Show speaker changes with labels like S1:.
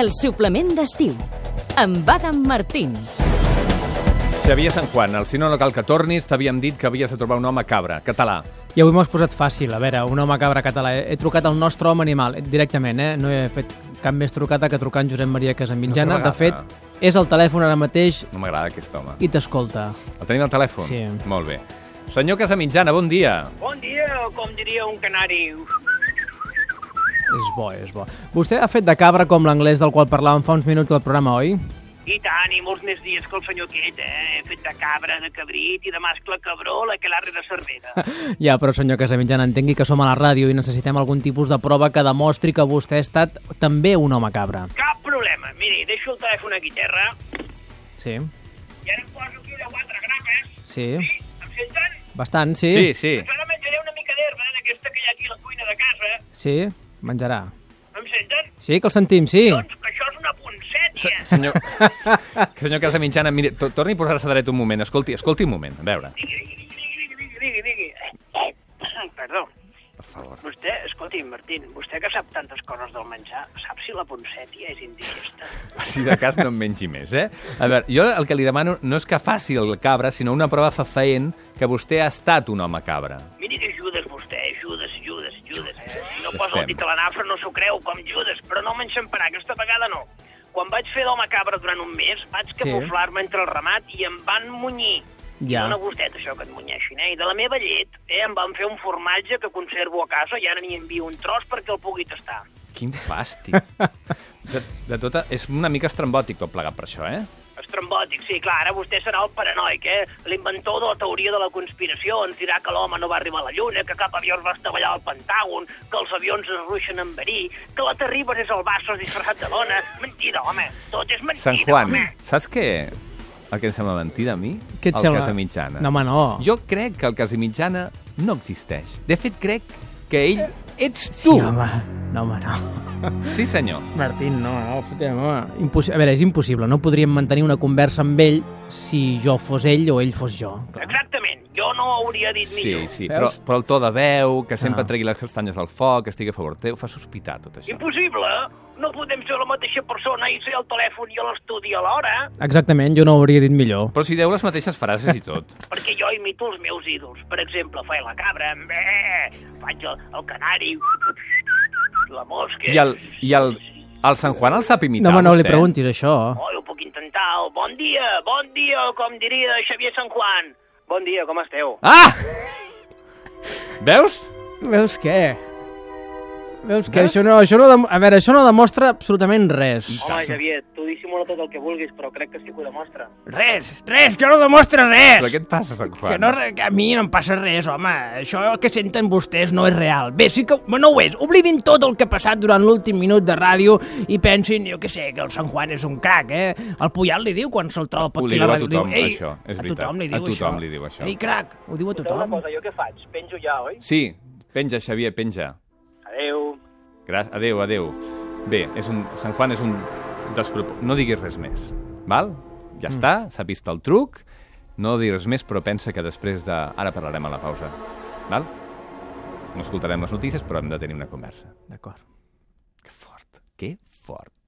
S1: El suplement d'estiu amb Adam Martín.
S2: Xavier Sant Juan, al Si no, no cal que tornis, t'havíem dit que havies de trobar un home cabra, català.
S3: I avui m'ho has posat fàcil. A veure, un home cabra català. He trucat al nostre home animal, directament, eh? No he fet cap més trucada que trucar en Josep Maria
S2: Una
S3: Casamitjana.
S2: altra
S3: De fet,
S2: vegada.
S3: és al telèfon ara mateix
S2: No m'agrada aquest home.
S3: i t'escolta.
S2: El tenim al telèfon?
S3: Sí.
S2: Molt bé. Senyor Casamitjana, bon dia.
S4: Bon dia, o com diria un canari.
S3: És bo, és bo. Vostè ha fet de cabra com l'anglès del qual parlàvem fa uns minuts del programa, oi?
S4: I tant, i molts més dies que el senyor aquest, eh? He fet de cabra, de cabrit i de mascle cabró, la que l'arre de Cervera.
S3: Ja, però senyor Casamitjana, entengui que som a la ràdio i necessitem algun tipus de prova que demostri que vostè ha estat també un home cabra.
S4: Cap problema. Miri, deixo el telèfon aquí a terra
S3: Sí,
S4: i ara em poso aquí de quatre grapes.
S3: sí,
S4: Sí? Em senten?
S3: bastant, sí.
S2: Sí, sí.
S4: Doncs ara menjaré una mica d'herba, d'aquesta que hi ha aquí a la cuina de casa.
S3: Sí, menjarà.
S4: Em senten?
S3: Sí, que el sentim, sí.
S4: Doncs que això és una
S2: Se-
S4: poncètia.
S2: Senyor, senyor Casamitjana, mire, to- torni a posar-se dret un moment. Escolti, escolti un moment, a veure.
S4: Digui, digui, digui, digui, digui, digui. Eh, eh, Perdó.
S2: Per favor.
S4: Vostè, escolti, Martín, vostè que sap tantes coses del menjar, sap si la poncètia és indigesta?
S2: Si de cas no en mengi més, eh? A veure, jo el que li demano no és que faci el cabra, sinó una prova fefaent que vostè ha estat un home cabra.
S4: Miri que Judes vostè, eh? Judes, Judes, Judes. Eh, Si no
S2: Estem.
S4: posa el dit a la nafra no s'ho creu, com Judes, però no m'enxamparà, aquesta vegada no. Quan vaig fer d'home cabra durant un mes, vaig
S3: Sí.
S4: camuflar-me entre el ramat i em van munyir.
S3: Ja.
S4: Ja. Dóna gustet, això, que et munyeixin, eh? I de la meva llet, eh, em van fer un formatge que conservo a casa i ara n'hi envio un tros perquè el pugui tastar.
S2: Quin fàstic. De, de tota... És una mica estrambòtic tot plegat per això, eh?
S4: Estrambòtic, sí, clar, ara vostè serà el paranoic, eh? L'inventor de la teoria de la conspiració ens dirà que l'home no va arribar a la Lluna, que cap avió es va estavellar al Pentàgon, que els avions es ruixen amb verí, que la Terribas és el Bassos disfressat de dona. Mentida, home, tot és mentida,
S2: Sant Juan,
S4: home.
S2: saps què? El que em sembla mentida a mi?
S3: Què et
S2: el
S3: sembla?
S2: Casamitjana.
S3: No, home, no.
S2: Jo crec que el Casamitjana no existeix. De fet, crec que ell ets
S3: Sí,
S2: tu.
S3: home. No, home, no.
S2: sí senyor.
S3: Martín, no, no, fotem, home. Impossi a veure, és impossible. No podríem mantenir una conversa amb ell si jo fos ell o ell fos jo.
S4: Exactament, jo no ho hauria dit
S2: Sí,
S4: millor.
S2: sí, però,
S3: Veus?
S2: però el to de veu, que sempre
S3: Ah.
S2: tregui les castanyes al foc, que estigui a favor teu, fa sospitar tot això.
S4: Impossible, eh? no podem ser la mateixa persona i ser al telèfon i a l'estudi alhora,
S3: Exactament, jo no ho hauria dit millor.
S2: Però si deu les mateixes frases i tot.
S4: perquè jo imito els meus ídols. Per exemple, faig la cabra, bé, faig el, el canari, la mosca...
S2: I el, i el, el Sant Juan el sap imitar,
S3: No, home, no li
S2: vostè?
S3: preguntis això.
S4: Oh, ho puc intentar. Oh, Bon dia, bon dia, oh, com diria Xavier Sant Juan. Bon dia, com esteu?
S2: Ah! Veus?
S3: Veus què? Veus què?
S2: Veus?
S3: Això no, això no dem... A veure, això no demostra absolutament res.
S4: Home, Xavier, tu dissimula tot el que vulguis, però crec que sí que ho demostra.
S5: Res, res, que no demostra res.
S2: Però què et passa, Sant Juan?
S5: Que, no, re- que a mi no em passa res, home. Això que senten vostès no és real. Bé, sí que bueno, no ho és. Oblidin tot el que ha passat durant l'últim minut de ràdio i pensin, jo què sé, que el Sant Juan és un crac, eh? El Puyal li diu quan se'l troba
S2: Ho
S5: aquí
S2: diu a
S5: ràdio,
S2: tothom,
S5: "Ei",
S2: això, és
S5: a
S2: veritat.
S5: tothom li
S2: A
S5: diu
S2: tothom
S5: això.
S2: li diu això.
S5: Ei, crac, ho diu a tothom.
S4: jo què faig? Penjo ja, oi?
S2: Sí, penja, Xavier, penja.
S4: Adeu.
S2: Gra adéu, adéu. Bé, és un... Sant Juan és un despropò... No diguis res més, val? Ja mm. està, s'ha vist el truc. No diguis res més, però pensa que després de... Ara parlarem a la pausa, val? No escoltarem les notícies, però hem de tenir una conversa.
S3: D'acord.
S2: Que fort, que fort.